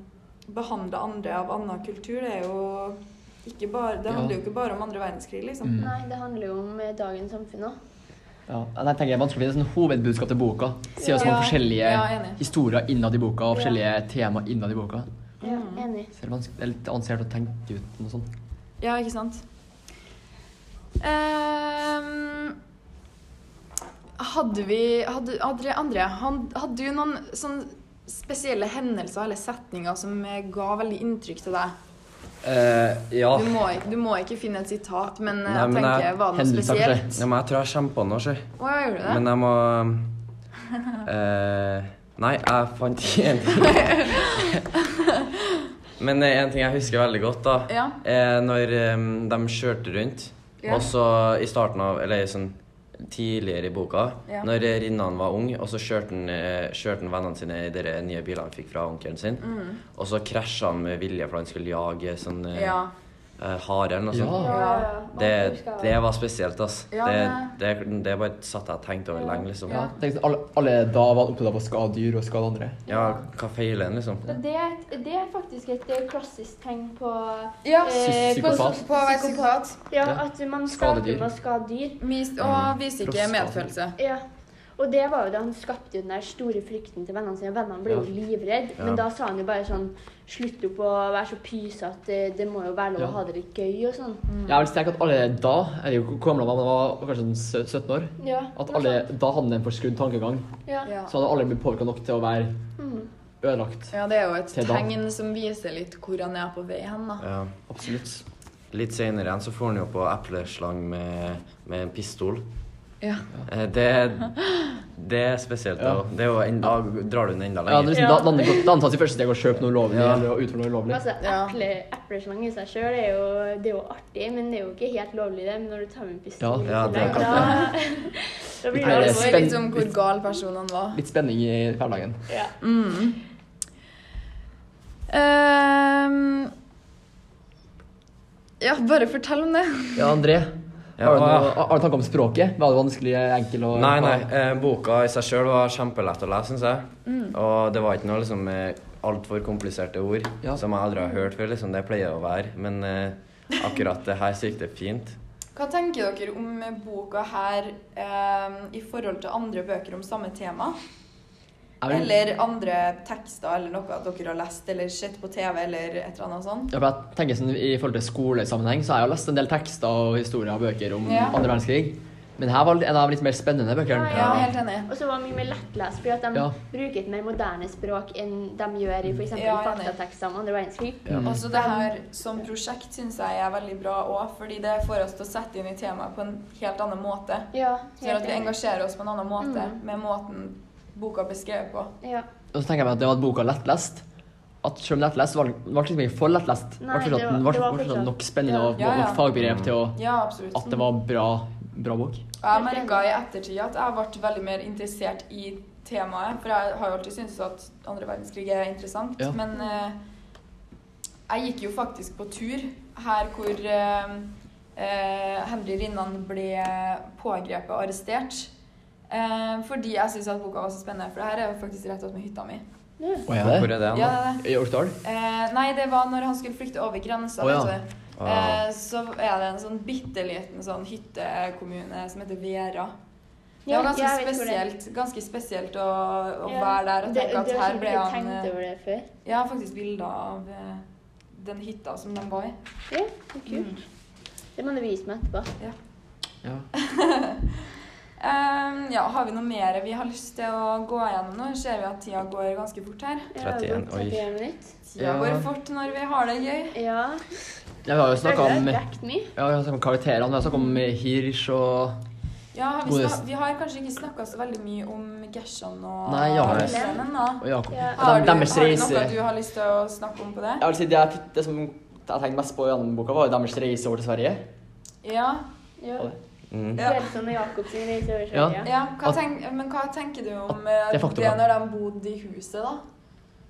behandler andre av annen kultur, det er jo ikke bare, Det
Ja.
handler jo ikke bare om andre verdenskrig, liksom.
Mm.
Nei, det handler jo om eh, dagens samfunn òg.
Ja. Nei, Jeg tenker Det er vanskelig å finne sånn hovedbudskap til boka. Se oss
Ja.
noen forskjellige
Ja, enig.
historier innad i boka og
Ja.
forskjellige tema innad i boka.
Ja, enig.
Så det er vanskelig- det er litt ansett å tenke ut noe sånt.
Ja, ikke sant? Ehm, hadde vi hadde, Adre, André, han, hadde du noen sånn spesielle hendelser eller setninger som eh, ga veldig inntrykk til deg?
Eh, ja.
Du må, ikke- du må ikke finne et sitat, men eh,
Nei,
jeg
men
tenker,
jeg-
var det noe
hendelser, kanskje.
spesielt?
ja men jeg tror jeg kommer på noe, sjø.
Å, ja, gjorde du det?
Men jeg må
[LAUGHS]
eh, Nei, jeg fant ikke en ting.
[LAUGHS]
Men eh, en ting jeg husker veldig godt, da,
Ja.
er når eh, de kjørte rundt.
Ja.
Og så i starten av Eller sånn tidligere i boka,
Ja.
når eh, Rinnan var ung, og så kjørte han, eh, kjørte han vennene sine i de nye bilene han fikk fra onkelen sin.
Mm.
Og så krasja han med vilje for han skulle jage sånn eh,
ja.
eh, hare eller noe sånt.
Ja.
Det, det var spesielt, ass.
Ja,
det, det, det bare satt jeg og tenkte over lenge, liksom.
Ja.
Ja.
Tenk, sånn, alle, alle da var opptatt av å skade dyr og skade andre.
hva feiler en, liksom?
Det, er et- det er faktisk et eh, klassisk tegn på
ja.
eh,
Psykopat.
på-
På vei psykopat.
Ja,
Ja.
at man
Skadedyr.
skader med å skade dyr.
Mis- Og viser ikke
Prostaten.
medfølelse.
Ja. Og det var jo da han skapte jo den der store frykten til vennene sine. Vennene ble jo livredde. Men da sa han jo bare sånn Slutt opp å være så pysete. Det må jo være lov
Ja.
å ha det litt gøy og sånn.
Jeg vil tenke at alle da, eller hvor gammel man var, var kanskje sånn sø- 17 år,
Ja.
at
noe
alle
sånt.
da hadde en forskrudd tankegang.
Ja.
sånn. Ja.
Så hadde alle blitt påvirka nok til å være
Mm.
ødelagt.
ja, det er jo et
Til da.
tegn som viser litt hvor han er på vei hen, da.
Ja.
Absolutt.
Litt senere igjen så får han jo på epleslang med, med en pistol.
Ja.
Eh, Det, det er spesielt.
Ja.
da. Det er jo enda, da drar du den enda
Ja, det er
lenger.
liksom,
Ja.
da, da hadde det antas i første steg å kjøpe noe ulovlig
Ja.
eller å utføre noe ulovlig.
Altså,
Ja.
eple, Epleslang i seg sjøl er, jo- det er jo artig, men det er jo ikke helt lovlig, det. Men når du tar med en pistol
Ja, ja,
i
det er
tillegg, da, [LAUGHS] da blir det
Nei,
Det
det er
var
alvor.
litt om hvor gal person han var.
Litt spenning i hverdagen.
Ja.
Mm. Ehm, ja, bare fortell om det.
Ja, André.
Ja,
har, du
hva-
noe, har du tanker om språket? Var det vanskelig, enkel og
Nei, nei. Eh, boka i seg sjøl var kjempelett å lese, syns jeg.
Mm.
Og det var ikke noe liksom eh, altfor kompliserte ord
Ja.
som jeg aldri har hørt før. liksom. Det pleier å være. Men eh, akkurat det her så gikk det fint.
Hva tenker dere om boka her ehm, i forhold til andre bøker om samme tema?
Jeg vil-
Eller andre tekster eller noe dere har lest eller sett på TV eller et eller annet sånt?
Ja, for jeg tenker sånn, I forhold til skolesammenheng så har jeg jo lest en del tekster og historier og bøker om
Ja.
andre verdenskrig. Men her var en av de litt mer spennende bøkene.
Ja, jeg er helt enig.
Og så var det mye mer lettlest, fordi at de
Ja.
bruker et mer moderne språk enn de gjør i f.eks.
Ja,
Ja,
jeg er enig.
faktatekster om andre verdenskrig.
Også Altså, det her som prosjekt syns jeg er veldig bra òg, fordi det får oss til å sette inn i temaet på en helt annen måte.
Ja,
Så gjør Sånn at vi
enig.
engasjerer oss på en annen måte med måten boka er beskrevet på.
Ja.
Og så tenker jeg meg at det var at boka er lettlest. At selv om lettlest var, var liksom ikke for lettlest.
Nei,
var fortsatt,
det var-
den var,
det var
fortsatt
fortsatt-
nok spennende
ja.
og
Ja, ja.
nok fagbegrep til å,
Ja, absolutt.
at det var bra, bra bok.
Og jeg merka i ettertid at jeg ble veldig mer interessert i temaet. For jeg har jo alltid syntes at andre verdenskrig er interessant.
Ja.
Men eh, jeg gikk jo faktisk på tur her hvor eh, eh, Henry Rinnan ble pågrepet og arrestert. Eh, fordi jeg syntes at boka var så spennende. For det her er jo faktisk rett ved hytta mi.
Ja.
Å, ja,
Hvor
det?
er det
Ja, det
hen?
er det.
I Orkdal?
Eh, nei, det var når han skulle flykte over grensa.
Å, ja.
vet du.
Ah.
Eh, så er det en sånn bitte liten sånn hyttekommune som heter Vera. Det var ganske
jeg vet hvor det er.
spesielt, ganske spesielt å, å
Ja.
være der og
Det-
tenke at
det var
her
ikke
ble
jeg
han
tenkt
eh,
over det før.
Jeg har faktisk bilder av eh, den hytta som de var i.
Ja, så
Mm.
kult. Det må du vise meg etterpå.
Ja.
Ehm, ja, har vi noe mer vi har lyst til å gå gjennom nå? Ser vi at tida går ganske fort her.
Jeg har gått
31, oi.
31 minutter.
Tida
Ja.
går fort når vi har det gøy.
Ja.
ja, vi har jo snakka om,
Føler
ja,
jeg rekt mye.
vi har snakket om karakterene, vi har snakket om eh, Hirsch og
Ja, har vi,
Gode-
snak- vi har kanskje ikke snakka så veldig mye om Gerson og
Nei, ja.
Lennon, da.
og Jakob.
Ja.
Har
Dem-
du, har
Deres
du noe
reise
du har lyst til å snakke om på det?
Jeg vil si det, jeg, det som jeg tenkte mest på gjennom boka, var jo deres reise over til Sverige.
Ja.
Ja.
Mm.
Ja.
Bjelson og sånn Jakob sin reise over
Ja.
Sverige.
Ja, hva
At-
tenk, men hva tenker du om eh,
Det
det,
er faktum, ja.
når de bodde i huset, da?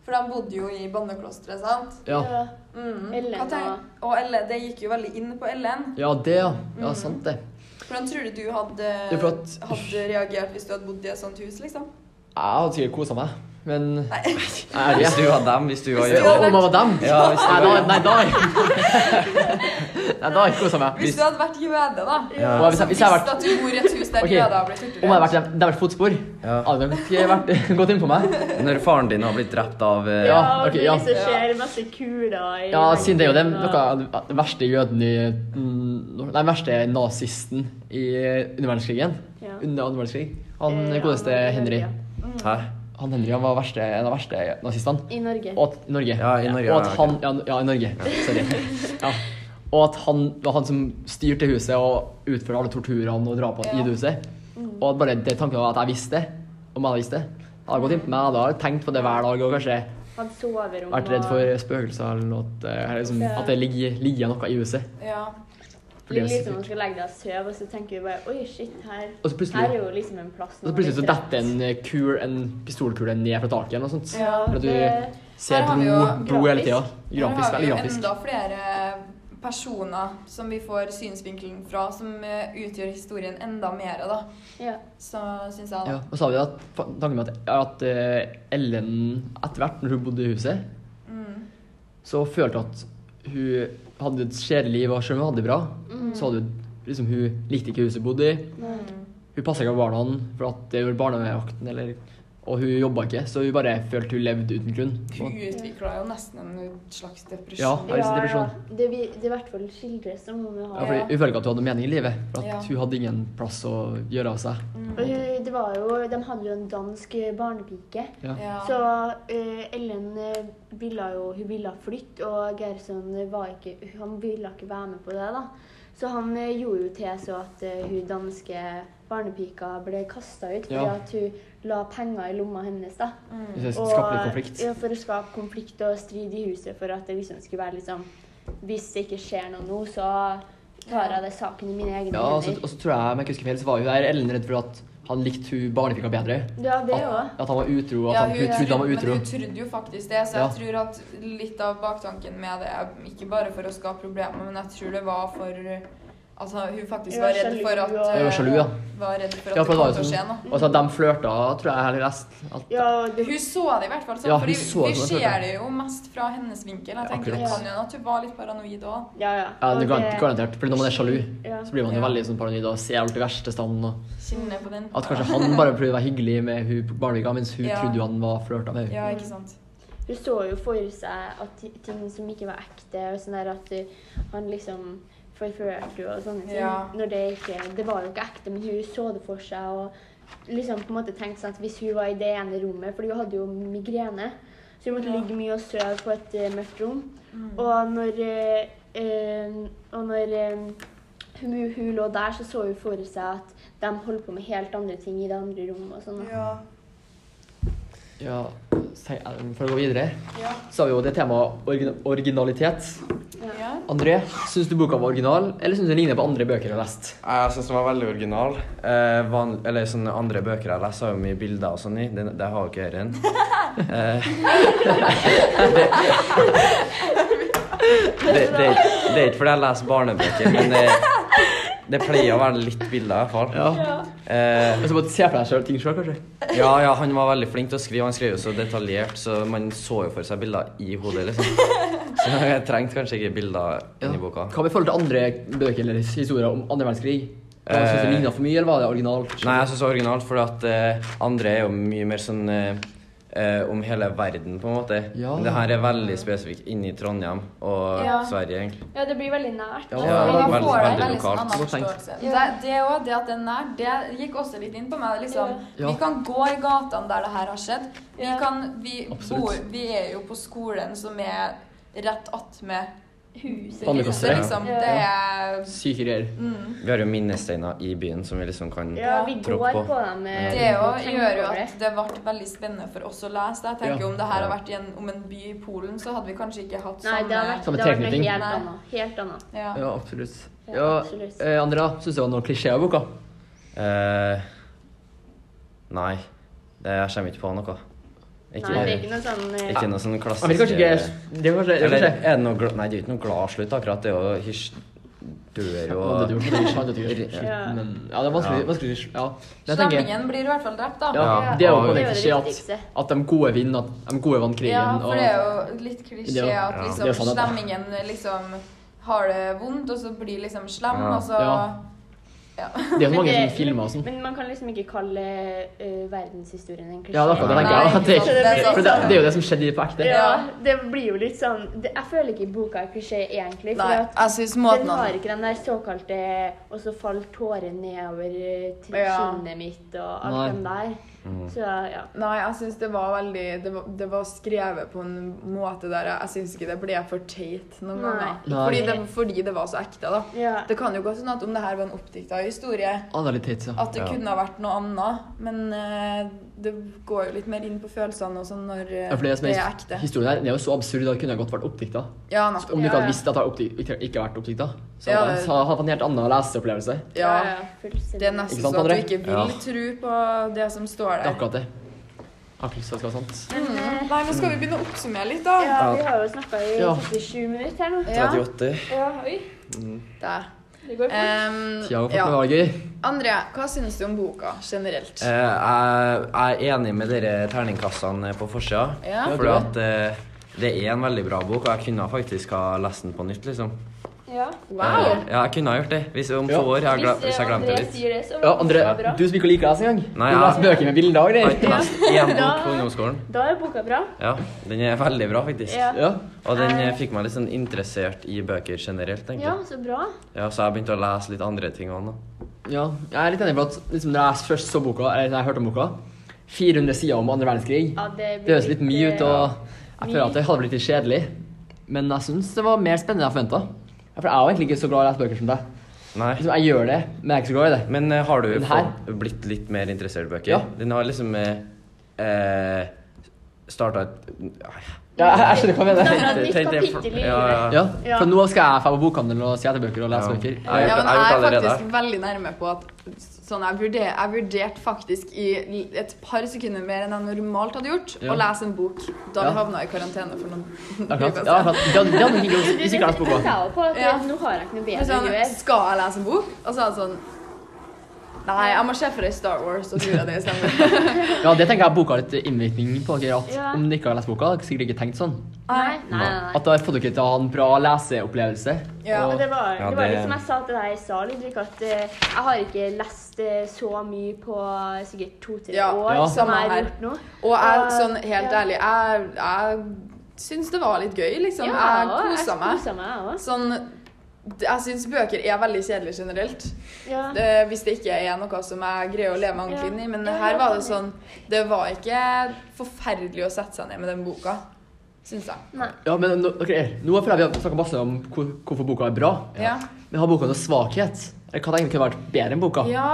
For de bodde jo i banneklosteret, sant?
Ja,
Mm.
Ellen
Hva tenk- og Ellen, det gikk jo veldig inn på Ellen.
ja det, ja. Ja, sant det.
Hvordan tror du du hadde,
Jo, for at-
hadde reagert hvis du hadde bodd i et sånt hus, liksom?
Jeg hadde sikkert kosa meg, men Nei,
Hvis du var dem, hvis du var
Eh. Hvis du
Ja,
jeg.
hadde
om jeg var dem?
Ja, hvis
Nei,
du
da,
var
nei, da [LAUGHS] Nei, da har jeg ikke kosa meg.
[LAUGHS] Hvis du hadde vært jøde, da.
Ja.
Og hvis jeg- hvis jeg
visste
hadde vært-
at du bor i et hus der
Ok.
jøder har blitt
Om jeg hadde
torturert.
vært dem, det hadde vært fotspor.
Ja.
Hadde nok ikke vært [LAUGHS] gått inn på meg.
Når faren din har blitt drept av eh,
Ja,
og
ok,
det
ja.
liksom skjer masse kuler i
Ja, siden det er jo den,
veggen, og-
noe av den verste jøden i mm, Nei, den verste nazisten i underverdenskrigen.
Ja.
Under andre verdenskrig. Han
Eh,
godeste
Anna
Henry.
Maria.
Hæ?
Han Henry han var verste, en av de verste nazistene.
I Norge.
Og at, i Norge.
Ja, i Norge,
Og at
ja, ok.
han Ja, ja i Norge. Sorry. Ja. Og at han var han som styrte huset og utførte alle torturene og drapene
Ja. Mm.
i det huset. Og at bare det tanken at jeg visste det, om jeg hadde visst det Jeg hadde gått inn på meg, jeg hadde tenkt på det hver dag og kanskje
Hadde soverom
vært redd for spøkelser eller noe. At, eh, liksom, at det ligger, ligger noe i huset.
Ja.
Fordi
Det er
det er
litt som om
sikkert.
man liksom skal legge deg og sove, og så tenker du bare Oi, shit, her,
Og så plutselig-
her er jo liksom en plass
Og så plutselig så detter en, eh, kul, en pistolkule ned fra taket eller noe sånt.
ja.
Eller at
det-
du ser
Her har vi jo
blod, blod hele tida.
grafisk.
Her
Grafisk. Veldig
har vi jo
grafisk.
enda flere personer som vi får synsvinkelen fra, som eh, utgjør historien enda mer, da.
Ja.
Så syns jeg da.
Ja, og så har vi at fa- tanken med at, at eh, Ellen etter hvert, når hun bodde i huset,
Mm.
så følte hun at hun hadde et kjedelig liv, og selv om hun hadde det bra,
Mm.
så hadde hun liksom Hun likte ikke huset hun bodde i.
Mm.
Hun passa ikke på barna, for at det gjorde barnevakten, eller Og hun jobba ikke, så hun bare følte hun levde uten grunn.
Hun utvikla jo nesten en slags depresjon.
Ja,
Ja.
det er depresjon.
Det, vi, det i hvert fall skildres som om hun
Ja,
har
fordi Hun følte ikke at hun hadde mening i livet. For at
Ja.
Hun hadde ingen plass å gjøre av seg.
Og hun- det var jo, De hadde jo en dansk eh, barnepike. Så eh, Ellen eh, ville jo hun ville flytte, og Gerson eh, var ikke, han ville ikke være med på det. da. Så han eh, gjorde jo til så at eh, hun danske barnepika ble kasta ut fordi
Ja.
at hun la penger i lomma hennes. da.
Mm.
Hvis det skapte litt konflikt.
Ja, for å skape konflikt og strid i huset for at det liksom skulle være liksom Hvis det ikke skjer noe nå, så tar jeg det saken i mine egne
Ja, altså, og så,
hender.
og så tror jeg, om jeg ikke husker feil, så var jo der Ellen redd for at han likte hun barnepika bedre.
Ja, det
At,
òg.
at han var utro, og at han, hun trodde han var utro.
Men hun trodde jo faktisk det, så
Ja.
jeg tror at litt av baktanken med det er ikke bare for å skape problemer, men jeg tror det var for at hun faktisk
Hun
var
var
redd
sjalu,
for at eh,
og-
Jeg var sjalu, ja.
Var redd for at
Ja,
det
for
kom
det var
til
jo
å skje
sånn.
noe.
Og så at de flørta, tror jeg, eller lest. At,
Ja, og det,
Hun så det i hvert fall sånn,
Ja, hun
fordi vi
så det som et
ser
problem.
det jo mest fra hennes vinkel. Jeg
Ja,
tenker det
akkurat.
kan jo hende at hun var litt paranoid òg.
ja, ja.
ja, det
Og
er garan- garantert. Fordi når man er sjalu,
Ja.
så blir man jo
Ja.
veldig sånn paranoid og ser alt i verste stand. Og
Kjenner på den.
at kanskje han bare prøvde å være hyggelig med hun barnepika, mens hun
Ja.
trodde jo han var flørta med henne.
Ja, ikke sant.
Hun så jo for seg at ti- ting som ikke var ekte, og sånn der at eh, han liksom forførte henne og sånne ting.
Ja.
Når det ikke Det var jo ikke ekte, men hun så det for seg og liksom på en måte tenkte sånn at hvis hun var i det ene rommet For hun hadde jo migrene, så hun måtte
Ja. Mm.
ligge mye og sove på et eh, mørkt rom. Og når, eh, eh, og når eh, hun, hun lå der, så så hun for seg at de holdt på med helt andre ting i det andre rommet. og sånn. da.
Ja.
Ja, se- eh, For å gå videre,
Ja.
så har vi jo det temaet origina- originalitet.
ja.
André, syns du boka var original, eller syns du den ligner på andre bøker du har lest?
Jeg syns den var veldig original. Eh, van, eller sånne andre bøker jeg leser, har jo mye bilder og sånn i. Det, det har jo ikke dette. Eh, [LAUGHS] det, det, det, er ikke- det er ikke fordi jeg leser barnebøker, men det, det pleier å være litt bilder, i hvert fall.
Ja.
Eh,
Og så bare se for deg selv ting selv, kanskje.
ja, ja, han var veldig flink til å skrive. Han skrev jo så detaljert, så man så jo for seg bilder i hodet, liksom. Så jeg trengte kanskje ikke bilder inni boka.
Hva med forhold til andre bøker eller historier om andre verdenskrig? Eh. Syns du det
Eh.
lignet for mye, eller var det originalt?
Nei, jeg syns det var originalt, for at eh, andre er jo mye mer sånn eh, eh, om hele verden, på en måte.
Ja.
Men det her er veldig spesifikt inni Trondheim og
Ja.
Sverige, egentlig.
Ja, det blir veldig nært.
Ja,
Ja,
Ja,
for
det
da får
var
du en
veldig
veldig sånn
lokalt.
annen
Godt tenkt.
forståelse. Det, det, også, det at det er nær, det gikk også litt inn på meg. Liksom.
Ja.
Vi kan gå i gatene der det her har skjedd. Vi,
Ja.
kan, vi,
Absolutt.
bor, vi er jo på skolen som er rett attmed
Huset.
huset,
Pannekastet, ja.
liksom.
Ja.
Det er
Syke greier.
Vi har jo minnesteiner i byen som vi liksom kan
Ja, vi
tråkke
går
på.
på dem. eh,
Det jo
tenker
gjør jo
over det.
at det ble veldig spennende for oss å lese. det. Jeg tenker
Ja.
Om det her hadde vært i en, om en by i Polen, så hadde vi kanskje ikke hatt
Nei, det har vært,
Samme
det har vært noe
tilknytning.
helt
Nei.
annet. Helt annet.
ja.
Ja, absolutt.
Ja,
Ja,
absolutt.
eh, Andrea, syns du det var noen klisjeer i boka?
Eh, nei, det, jeg kommer ikke på noe.
Nei,
Ikke,
det er ikke noe sånn eh,
ikke noe sånn
Jeg vet
klassisk
kanskje
eh,
ikke Det er kanskje, det er
Eller
kanskje.
er det noe gla- Nei, det er jo ikke noe glad slutt, akkurat. Det er jo hysj... Dør jo
Ja, det er jo ikke det, sant, det er jo ikke det.
Ja.
Men, ja, det er vanskelig.
Ja.
vanskelig ja. Men jeg tenker,
Slemmingen blir i hvert fall drept, da.
ja,
Ja.
det er jo
Ja,
på en
det
er jo det
klisjé at,
viktigste.
at de gode vinner, at de gode vant krigen.
Ja, for det er
og-
jo litt klisjé
Ja.
at
Ja.
liksom
Det er sant, da.
slemmingen liksom har det vondt, og så blir liksom slem,
Ja.
og så
Ja. det er jo
men
mange
det-
som filmer og sånn.
Men man kan liksom ikke kalle eh, verdenshistorien en klisjé.
Ja, det er akkurat det
Nei,
jeg tenker jeg. at det er
ikke
ikke-
sant,
For
det
det,
er sant.
det er jo det som skjedde på ekte.
[LAUGHS] Ja, det blir jo litt sånn det, Jeg føler ikke boka er klisjé,
Nei,
egentlig. For at
jeg syns
den
måten
har
han
ikke den der såkalte 'og så falt tårer nedover eh, til
Ja.
kinnet mitt' og alt
Nei. Mm.
den der.
Mm.
Så ja.
Nei, jeg syns det var veldig det var, det var skrevet på en måte der jeg, jeg syns ikke det ble for teit noen
Nei.
ganger.
Nei.
Fordi det, fordi det var så ekte, da.
ja.
Det kan jo gå sånn at om det her var en oppdikta historie,
Annerledes, ja.
at det
Ja.
kunne ha vært noe annet, men eh, det går jo litt mer inn på følelsene og sånn når eh,
Ja, for det som
det er
er
ekte.
historien her, den er jo så absurd at det kunne godt vært oppdikta.
Ja,
Om
nettopp.
du ikke
Ja, ja.
hadde visst at det hadde oppdi- ikke- ikke vært oppdikta, så
Ja,
hadde
det-
han hatt en helt annen leseopplevelse.
Ja.
fullstendig.
Det er nesten
Ikke sant,
sånn at du
André?
ikke vil
Ja.
tro på det som står
Det
der. Mm.
er akkurat det. Akkurat så skal det være sant.
Men, eh,
Nei, nå skal vi begynne å oppsummere litt, da.
ja, vi har jo snakka i
Ja.
37 minutter her nå.
Ja.
38.
Ja, oi.
Der.
Det går
Eh,
fort.
Ehm,
Tida går fort
ja.
med valget.
André, hva syns du om boka generelt?
Eh, jeg, jeg er enig med dere terningkastene på forsida.
Ja.
Fordi at eh, det er en veldig bra bok, og jeg kunne faktisk ha lest den på nytt, liksom.
Ja.
Wow!
Eh, ja, jeg kunne ha gjort det. Hvis om
Ja.
to år. Jeg har gle- hvis
Hvis, eh,
jeg glemte det
André
litt.
sier det, så
Ja, André,
så bra.
du som ikke liker å lese engang.
Nei,
du
ja.
leser bøker med bilder og
Jeg har ikke
greier.
lest én bok
[LAUGHS] Ja.
på ungdomsskolen.
Da er boka bra.
Ja, den er veldig bra, faktisk.
Ja.
Ja.
Og den eh, fikk meg litt sånn interessert i bøker generelt,
ja,
egentlig.
så bra.
Ja, så jeg begynte å lese litt andre ting òg nå.
ja. Jeg er litt enig for at liksom, når jeg først så boka, eller når jeg hørte om boka 400 sider om andre verdenskrig.
Ja, det
Det høres litt mye ut,
eh,
og jeg føler at det hadde blitt litt kjedelig. Men jeg syns det var mer spennende enn jeg forventa. For jeg er jo egentlig ikke så glad i å lese bøker som deg.
Nei.
Liksom, jeg gjør det, men jeg er ikke så glad i det.
Men eh, har du
Den her?
fått blitt litt mer interessert i bøker?
Ja.
Den har liksom eh, eh, starta et
Ja, jeg, jeg skjønner hva du mener.
Startet et nytt
Tenkte jeg for-
kapittel i
Ja, ja.
livet.
Ja,
Ja.
Fra nå av skal jeg dra på bokhandelen og se etter bøker og lese
Ja.
bøker.
Jeg har
Ja,
gjort
men
det- jeg har
jeg
gjort det
er
allerede.
faktisk veldig nærme på at sånn, jeg, vurder, jeg vurderte faktisk i l- et par sekunder mer enn jeg normalt hadde gjort,
Ja.
å lese en bok da
Ja.
vi havna i karantene for noen
Akkurat. Ja, akkurat. Det hadde- det hadde jeg ikke gjort hvis jeg ikke leste
Det
boka.
sa jeg jo på at
Ja.
eh, nå har jeg ikke noe
Men
bedre å
sånn,
gjøre.
skal jeg lese en bok? Og så er det sånn Nei, jeg må se for deg Star Wars og tror jeg det stemmer.
Ja, det tenker jeg boka har litt innvirkning på dere. At
Ja.
Om dere ikke har lest boka, har dere sikkert ikke tenkt sånn.
Nei, nei, nei. nei.
At da har fått dere til å ha en bra leseopplevelse.
Ja.
Og
Og,
det var,
Ja,
det var
det-
litt som jeg sa til deg i stad, Ludvig, at eh, jeg har ikke lest eh, så mye på eh, sikkert to-tre
Ja,
år
ja.
som
samme
jeg har
her.
gjort nå.
Og jeg,
Og,
sånn helt
Ah, ja.
ærlig, jeg, jeg syns det var litt gøy, liksom. jeg
og
kosa meg.
koset meg også.
Sånn Jeg syns bøker er veldig kjedelige generelt.
Ja.
Eh, hvis det ikke er noe som jeg greier å leve meg ordentlig inn i. Men
Ja, ja,
her var det
jeg er
sånn Det var ikke forferdelig å sette seg ned med den boka, syns jeg.
Nei.
ja, men nå, dere, nå føler jeg vi har snakka masse om hvor, hvorfor boka er bra.
Ja.
Men har boka noen svakhet? Eller hva hadde egentlig kunne vært bedre enn boka?
ja.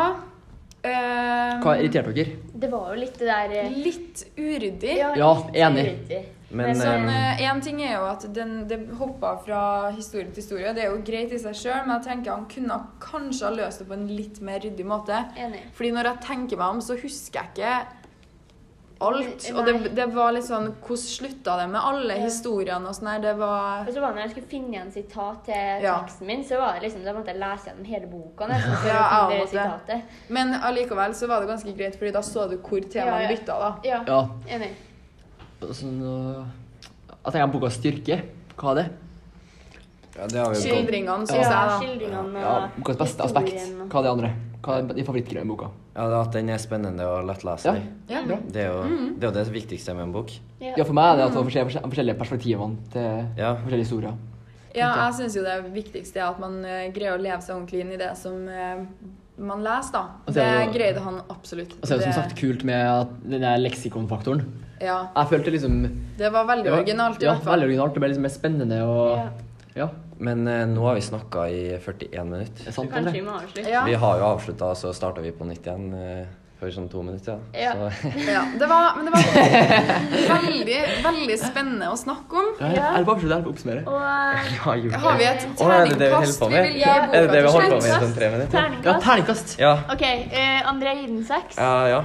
Eh,
Hva irriterte dere?
Det var jo litt det der eh,
litt uryddig.
Ja,
litt
enig.
uryddig.
Men,
så-
Sånn,
eh,
eh, en ting er jo at den, det hoppa fra historie til historie. Det er jo greit i seg sjøl, men jeg tenker han kunne kanskje ha løst det på en litt mer ryddig måte.
Enig.
Fordi når jeg tenker meg om, så husker jeg ikke alt. Og det,
Nei.
det var litt sånn Hvordan slutta det med alle
Ja.
historiene og sånn her? Det var
Og så var det når jeg skulle finne igjen sitat til
Ja.
teksten min, så var det liksom, da måtte jeg lese gjennom hele boka nesten [LAUGHS] for
Ja,
å finne det
jeg måtte.
sitatet.
Men allikevel så var det ganske greit, Fordi da så du hvor
Ja,
temaene
ja.
bytta, da.
Ja,
Ja,
enig.
sånn øh, Jeg tenker boka styrke. Hva er det?
ja, det har vi jo gått
Skildringene,
Ja,
syns jeg,
skildringene
Ja,
og
bokas beste aspekt.
historien og-
Hva er det andre? Hva er din favorittgreie med boka?
Ja, det er At den er spennende og lettleselig.
da. Ja. Mm.
Bra.
Det, er jo, det er jo det viktigste med en bok.
Ja.
Ja, for meg er det at man får se forskjell- forskjellige perspektivene til
Ja.
forskjellige historier.
Ja, jeg syns jo det viktigste er at man eh, greier å leve seg ordentlig inn i det som eh, man leser, da.
Og så
det
er det jo-
greide han absolutt.
Og så er det som sagt kult med at den der leksikonfaktoren.
ja,
Jeg følte liksom
det var veldig
det var-
originalt, i
Ja,
hvert fall.
veldig originalt. Det ble liksom mer spennende
Ja.
og Ja,
Men eh, nå har vi snakka i
det
41
er
minutter.
sant,
Kanskje vi
André.
må avslutte.
Ja,
Vi har jo avslutta, så starta vi på nytt igjen eh, for sånn to minutter.
Ja.
[LAUGHS] Så,
ja. Det var, men det var veldig, veldig spennende å snakke om.
Ja, jeg jeg er på absolutt jeg er på å oppsummere.
Og eh,
ja, jul.
Har vi et
Å, er det det vi holder
terningkast
på
vi
med?
vil gi boka
Er det det vi
til
holder på med i
slutt?
sånn tre minutter?
Ja,
terningkast.
terningkast.
Ja.
OK, eh, André gir den seks.
Ja, ja.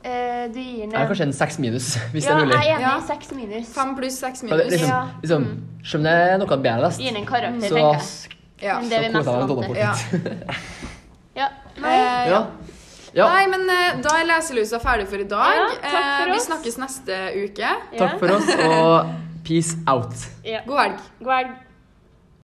Eh, du gir den
Jeg er kanskje en seks minus, [LAUGHS] hvis det
Ja,
er mulig.
jeg er enig.
Ja.
Seks minus.
Fem pluss seks
For det-
minus.
Liksom,
Ja. Mm.
liksom, selv om det er noe bedre lest,
Gir den en karakter,
så
tenker jeg.
Ja.
Men
så
det er vi
koser jeg
mest
meg med
vant til.
Donna
Ja.
Ja. Nei.
Eh,
Ja.
ja.
ja.
Nei, men eh, da er leselusa ferdig for i dag.
Ja, takk for
Eh, vi
oss.
snakkes neste uke.
Takk Eh, for oss, og peace out.
Ja.
God helg.
God helg.